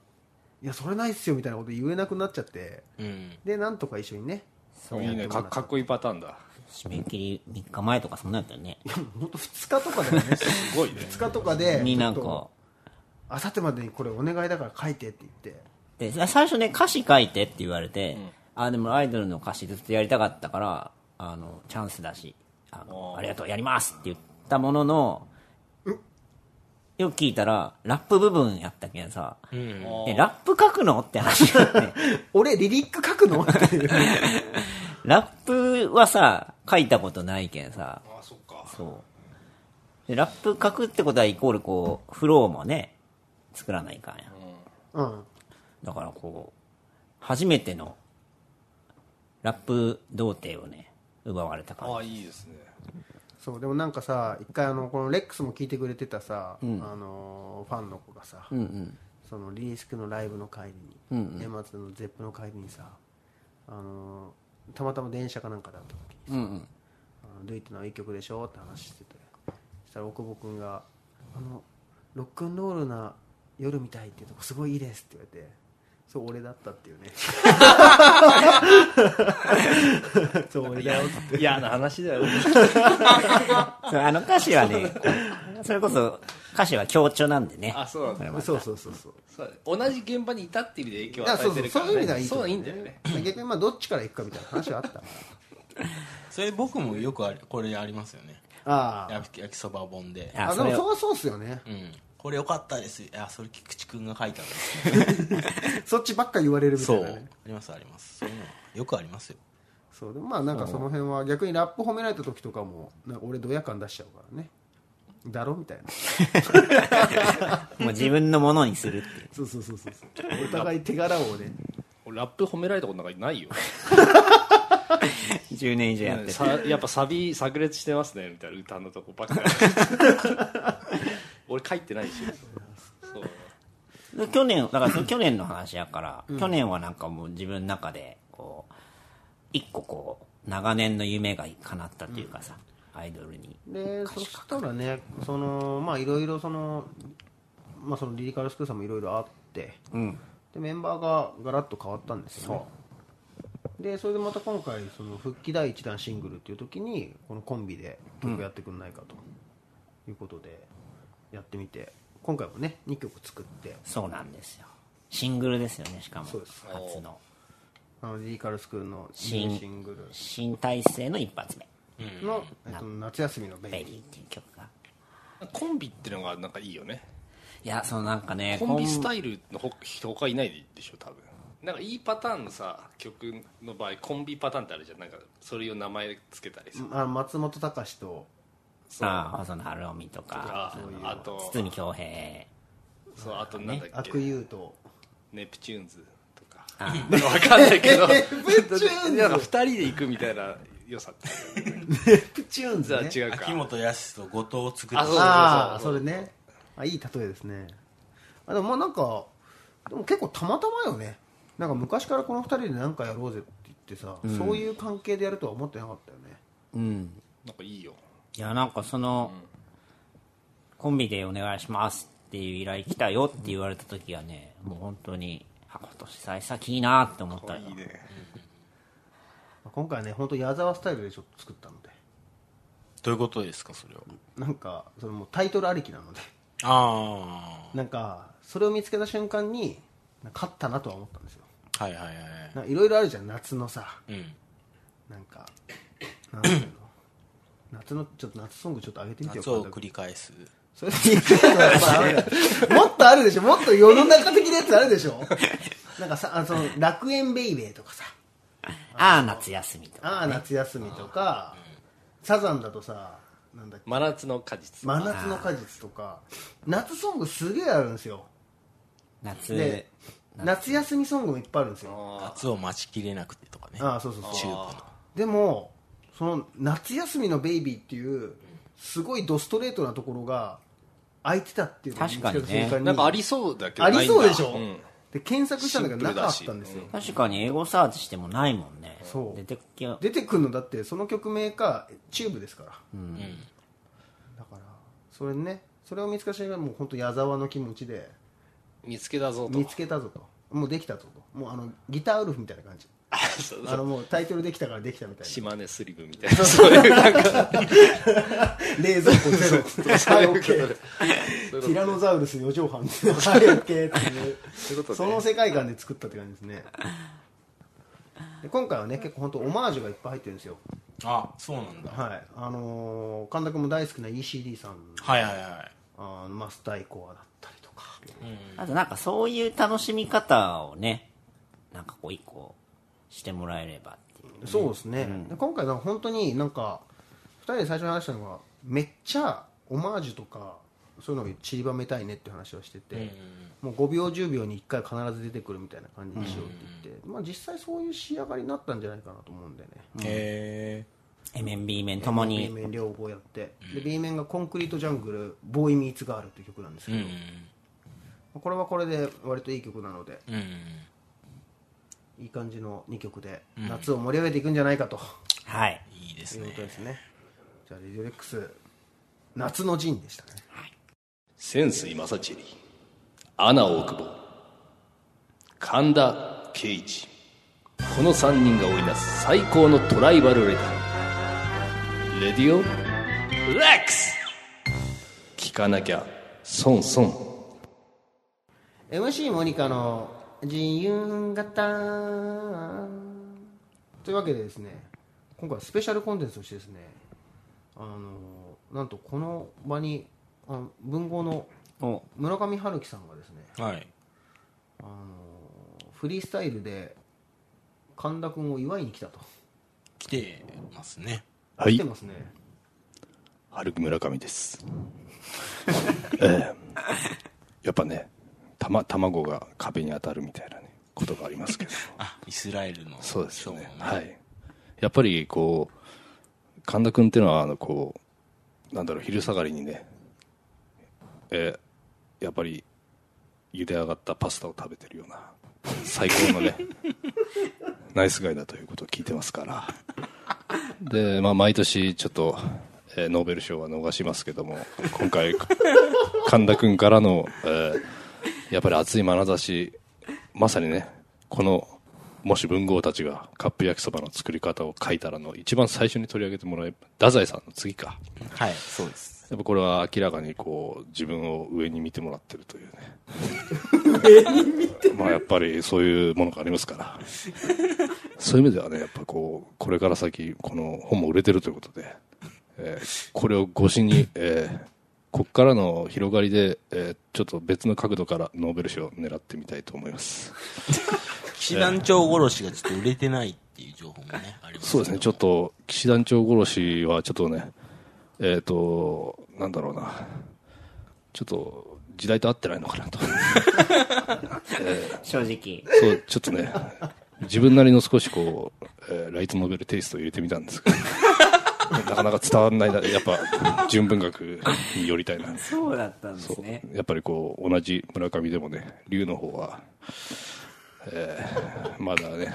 いやそれないっすよみたいなこと言えなくなっちゃってうん。でなんとか一緒にねそういいねかかっこいいパターンだ締め切り3日前とかそんなんやったよね本当2日とかだよねすごいね2日とかでになんちょっとかあさってまでにこれお願いだから書いてって言ってでさ最初ね歌詞書いてって言われて、あでもアイドルの歌詞ずっとやりたかったからあのチャンスだしあのありがとうやりますって言ったもののよく聞いたらラップ部分やったけんさ、えラップ書くのって話になって俺リリック書く [laughs] のっていうラップはさ、書いたことないけんさ。あそっか。そう。で、ラップ書くってことはイコールこう、フローもね、作らないかんや。うんだからこう、初めての、ラップ童貞をね、奪われたあ感あいいですねそうでもなんかさ一回あのこのレックスも聞いてくれてたさ、あのファンの子がさ、そのリリースクのライブの帰りに、年末のゼップの帰りにさあのたまたま電車かなんかだった時にさあの「ルイってのはいい曲でしょ?」って話しててそしたら大久保君が「あのロックンロールな夜みたいっていうとこすごいいいです」って言われてそう俺だったっていうね [laughs] そう俺だよって嫌な話だよじ。そうあの歌詞はね、こうそれこそ、歌詞は強調なんでね。あそうなんだそうそうそうそうそうだね同じ現場にいたっていう影響をあ与そうそえてうるそかういう意ら、ね、味ではいいとそう思いういんだよねまあ逆にまあどっちから行くかみたいな話はあったそれ僕もよくありこれありますよね。 [laughs] ああ焼き焼きそば本で。ああでそもれそをうはそうっすよねうん。これ良かったです。いや、それ菊池くんが書いたんです。そっちばっか言われるみたそ。いうなあねりますあります。そういうのよくありますよ。そうでもまあなんかその辺は逆にラップ褒められた時とかもなんか俺ドヤ感出しちゃうからねだろみたいなもう自分のものにするっていう。そうそうそうそう [laughs] そうお互い手柄をね俺ラップ褒められたことなんかないよ10年以上やってて。さやっぱサビ炸裂してますねみたいな歌のとこばっかり [laughs] 俺書いてないしそうで去年、だからその去年の話やから、去年はなんかもう自分の中で、こう、一個こう、長年の夢が叶ったというかさ、アイドルに。でそしたらねそのまあいろいろそのまあそのリリカルスクールさんもいろいろあって、でメンバーがガラッと変わったんですよねでそれでまた今回その復帰第1弾シングルっていう時にこのコンビで曲やってくんないかと、いうことでやってみて今回もね2曲作ってそうなんですよ。シングルですよね、しかも。そうです初の。あのリリカルスクールの新ニューシング新体制の一発目。ルの、えっと、夏休みのベイビベリーーっていう曲が。コンビってのがなんかいいよねいや、そのなんかね、コンビスイタイルのほ人他いないでしょ多分なんかいいパターンのさ曲の場合コンビパターンってあるじゃんなんかそれを名前つけたりさ、あ松本隆とそうああ、細野晴臣とかあ、あと堤恭平。そうあとなんだっけ悪友とネプチューンズとかあーなんか [laughs] わかんないけどネプチューンズなんか二人で行くみたいな良さっていうかねプチューンズ、じゃあね、違うか秋元康と後藤を作っあそうああそれねあいい例えですねあでもまあなんかでも結構たまたまよねなんか昔からこの2人で何かやろうぜって言ってさ、そういう関係でやるとは思ってなかったよねうん。なんかいいよいや、なんかその、コンビでお願いしますっていう依頼来たよって言われた時はね、もう本当に、あ、今年最先いいなって思ったよ。まあ今回はね本当矢沢スタイルでちょっと作ったのでどういうことですか、それは。なんかそれもうタイトルありきなのであなんかそれを見つけた瞬間に勝ったなとは思ったんですよあ。はいはいはい。なんかいろいろあるじゃん夏のさうん。なんかなんていうの [coughs] 夏のちょっと夏ソングちょっと上げてみてよ夏を繰り返す。それで言ってたのやっぱあるよもっとあるでしょもっと世の中的なやつあるでしょなんかさ、あのその楽園ベイベーとかさ、ああ、夏休みとか。ああ、夏休みとか、サザンだとさ、なんだっけ、真夏の果実真夏の果実とか、夏ソングすげえあるんですよ。夏で、、夏休みソングもいっぱいあるんですよ。夏を待ちきれなくてとかね。ああ、そうそうチそュう。ーブの。でも、その夏休みのベイビーっていう、すごいドストレートなところが、空いてたっていうのを見つけた瞬間確かにねなんかありそうだけどありそうでしょ、ないんだうんで検索したんだけどシなンプかルだっしたんですよ確かに英語サーチしてもないもんね。そう出てきゃ出てくるのだってその曲名かチューブですから、だからそれねそれを見つけた瞬間もう本当矢沢の気持ちで見つけたぞと見つけたぞともうできたぞともうあのギターウルフみたいな感じそうあのもうタイトルできたからできたみたいな島根スリムみたいなそういうなんか冷蔵庫ゼロはいオッケーそういうことティラノザウルス四畳半はいオッケーっていうそういうことねその世界観で作ったって感じですねで今回はね結構本当オマージュがいっぱい入ってるんですよあ、そうなんだ。はいあのー神田君も大好きな ECD さんはいはいはあーマスターイコアだったりとかあとなんかそういう楽しみ方をね、なんかこう一個してもらえればっていう。そうですね、で今回なんか本当になんか2人で最初に話したのがめっちゃオマージュとかそういうのを散りばめたいねって話をしてて、もう5秒10秒に1回必ず出てくるみたいな感じにしようって言って、まあ、実際そういう仕上がりになったんじゃないかなと思うんでね、い。へ M 面 B 面とも B に。面両方やって、で B 面が「コンクリートジャングルボーイ・ミーツ・ガール」っていう曲なんですけど、これはこれで割といい曲なのでえ。うん。いい感じの2曲で夏を盛り上げていくんじゃないかと。はい。いいでとすいうねこ。とですね。じゃあ、レディオレックス、夏の陣でしたね。潜水正チリアナ大久保神田圭一この3人が織りなす最高のトライバルレターレディオレックス聞かなきゃ損損 MC モニカの自由型。というわけでですね、今回はスペシャルコンテンツとしてですね、あの、なんとこの場に、あの文豪のお村上春樹さんがですね、はい。あの、フリースタイルで神田君を祝いに来たと。来てますね。は来てますね。春木村上です、やっぱねたま卵が壁に当たるみたいなねことがありますけどあ、イスラエルの。そうですよねそうはいやっぱりこう神田君っていうのはあのこうなんだろう昼下がりにねえーやっぱり茹で上がったパスタを食べてるような最高の [laughs] ねナイスガイだということを聞いてますからで、まあ、毎年ちょっと、えーノーベル賞は逃しますけども今回神田君からの、えーやっぱり熱い眼差しまさにねこのもし文豪たちがカップ焼きそばの作り方を書いたらの一番最初に取り上げてもらえ太宰さんの次かはい、そうです。やっぱこれは明らかにこう自分を上に見てもらってるというねまあやっぱりそういうものがありますからそういう意味ではねやっぱこうこれから先この本も売れてるということで、えーこれを越しに、えーこっからの広がりで、えーちょっと別の角度からノーベル賞を狙ってみたいと思います騎士団長殺しがちょっと売れてないっていう情報もね、ありますそうですね、ちょっと、騎士団長殺しは、ちょっとね、えっ、と、なんだろうな、ちょっと、時代と合ってないのかなと。正直。そう、ちょっとね、自分なりの少しこう、えーライトノベルテイストを入れてみたんですけど、 [laughs] なかなか伝わらないな、やっぱ、純文学に寄りたいな。そうだったんでそすね。うやっぱりこう同じ村上でもね龍の方は、えーまだね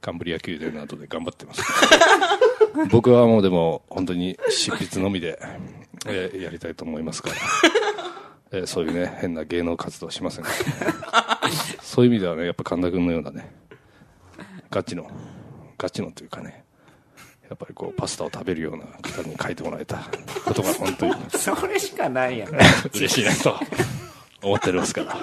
カンブリア宮殿などで頑張ってます僕はもうでも本当に執筆のみで、えーやりたいと思いますから、えーそういうね変な芸能活動はしませんからそういう意味ではねやっぱ神田君のようなねガチのガチのというかねやっぱりこうパスタを食べるような方に書いてもらえたことが本当にそれしか [laughs] ないやん。嬉しいな [laughs] と思っておりますから。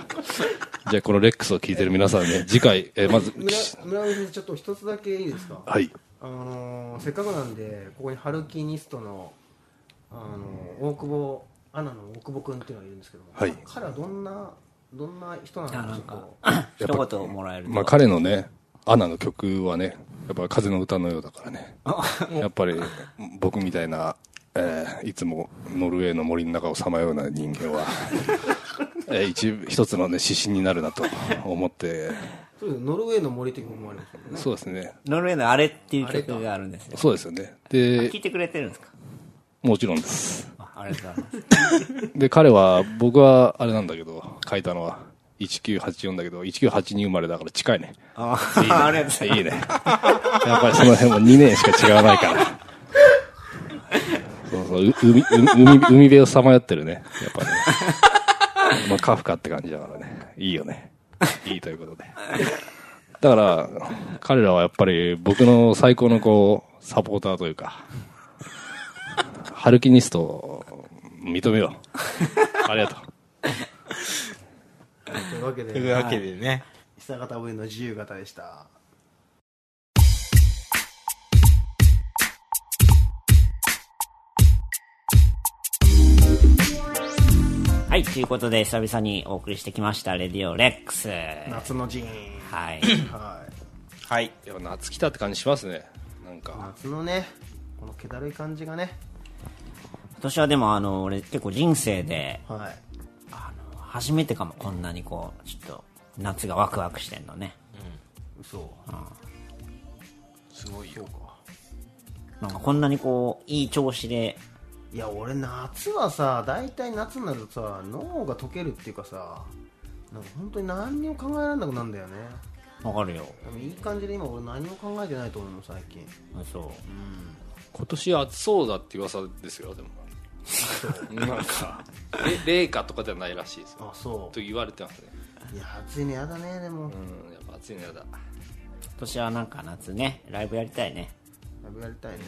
じゃあ、このレックスを聞いてる皆さんね、次回、えーまず、村村上先生、ちょっと一つだけいいですかはい。あのーせっかくなんでここにハルキニストの、あのー大久保アナの大久保君っていうのがいるんですけども、はい彼はどんなどんな人なのあかなんちょっかと、一言もらえると。まあ、彼のね、アナの曲はね、やっぱ風の歌のようだからね、やっぱり僕みたいな、えーいつもノルウェーの森の中をさまような人間は、えー一一つのね、指針になるなと思って、そうですねノルウェーの森という曲もありますけどねそうですね。ノルウェーのあれっていう曲があるんですよ。そうですよね。聞で、いてくれてるんですかもちろんです。 [laughs] あありがとうございます。で、彼は、僕はあれなんだけど、書いたのは、 1984だけど、1982生まれだから近いね。あーありがとうございます。いいね。やっぱりその辺も2年しか違わないから。そうそう、う海、海、海辺をさまよってるね。やっぱね。まあ、カフカって感じだからね。いいよね。いいということで。だから、彼らはやっぱり僕の最高のこう、サポーターというか、ハルキニストを認めよう。ありがとう。というわけ [laughs] といでうわけでね。久方部の自由形でしたはい、ということで、久々にお送りしてきました、レディオレックス。は夏の陣 [clears throat] い。はいはい。いや、夏来たって感じしますね。なんか。夏のねこの気だるい感じがね今年はでも、あの、俺結構人生で、はいあの、初めてかも、こんなにこう、ちょっと、夏がワクワクしてんのね。そうすごいよなんかこんなにこう、いい調子で、いや俺夏はさ大体夏になるとさ脳が溶けるっていうかさなんか本当に何にも考えられなくなるんだよねわかるよ。でもいい感じで今俺何も考えてないと思うの最近そう。今年暑そうだって噂ですよでも [laughs] なんかれ冷夏とか [laughs] ではないらしいですよあそと言われてますねういや暑いのやだねでもうんやっぱ暑いのやだ今年はなんか夏ね、ライブやりたいね。ライブやりたいね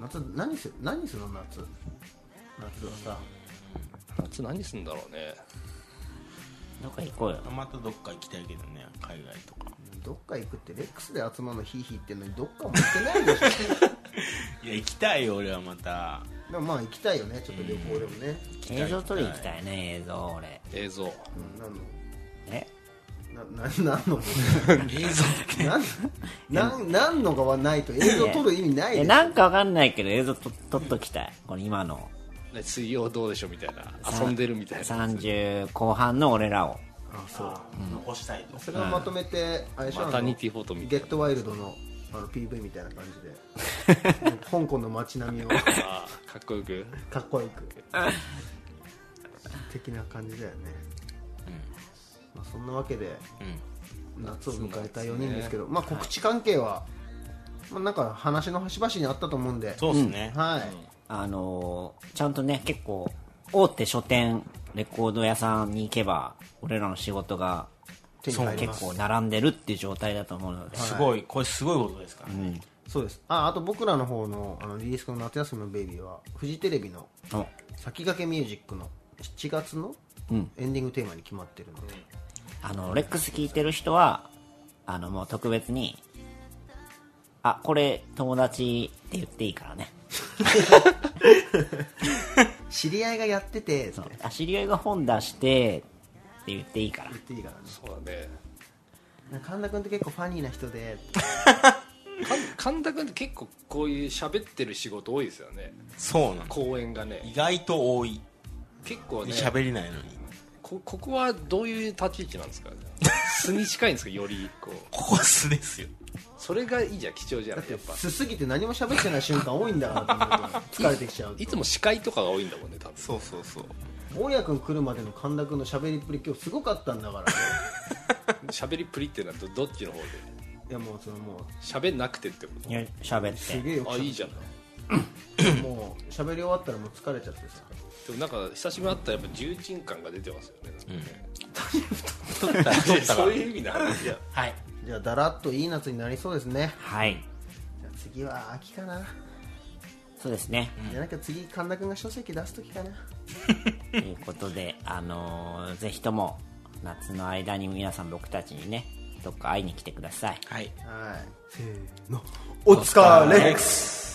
夏何する何するの夏夏はさ夏何すんだろうねどっか行こうよ。またどっか行きたいけどね、海外とか。どっか行くってレックスで集まるのヒーヒーってのにどっかも行ってないでしいや、行きたいよ、俺はまた。ょ [laughs] でもまあ行きたいよねちょっと旅行でもね映像撮りに行きたいね、映像、俺。映像うん何のえなな [laughs] 何の映像なんなんなんのかはないと映像撮る意味ないいやでなんかわかんないけど映像と撮っときたい。この今のね水曜どうでしょうみたいな遊んでるみたいな30後半の俺らを。あそう残したいと。それをまとめてあれでしょマタニティフォトみたいなゲットワイルドのあの PV みたいな感じ [laughs] で香港の街並みをあーかっこよくかっこよく的な感じだよね、まあ、そんなわけで夏を迎えた4人ですけど、まあ、告知関係は、まあ、なんか話の端々にあったと思うんでそうですね。はい、あのーちゃんとね、結構、大手書店、レコード屋さんに行けば、俺らの仕事が手に入ります結構並んでるっていう状態だと思うので、すごい、これすごいことですからね。そうですああと僕らの方のあのリリースの夏休みのベイビーはフジテレビのお先駆けミュージックの7月のエンディングテーマに決まってるので、あの、レックス聞いてる人は、あの、もう特別に、あ、これ友達って言っていいからね。知り合いがやっててってそうあ、知り合いが本出して、って言っていいから言。っていいからねそうだねなんか神田君って結構ファニーな人でか神田君って結構こういう喋ってる仕事多いですよねそうなの。公演が意ね外と多い。結構ね喋りないのに。こここはどういう立ち位置なんです [laughs] か素に近いんですかよりこうここは素ですよ。それがいいじゃん貴重じゃんやっぱすすぎて何も喋ってない瞬間多いんだからと思って疲れてきちゃういつも司会とかが多いんだもんね多分そうそう [laughs] そう。大家君来るまでの神田君の喋りっぷり今日すごかったんだ [laughs] からね喋りっぷりっていうのはどどっちの方でいやもうそのも喋んなくてってこいや喋っうすて。げえよとあいいじゃんでもう喋り終わったらもう疲れちゃってさもなんか久しぶりに会ったらやっぱ重鎮感が出てますよね撮ったら、撮いやったらそう。いう意味な話いやはい。じゃあだらっといい夏になりそうですねはい。じゃあ次は秋かな、そうですね。じゃなきゃ次神田君が書籍出す時かなということで、あのーぜひとも夏の間に皆さん僕たちにねどっか会いに来てくださいはい。はいせーのお疲れス。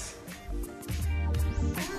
「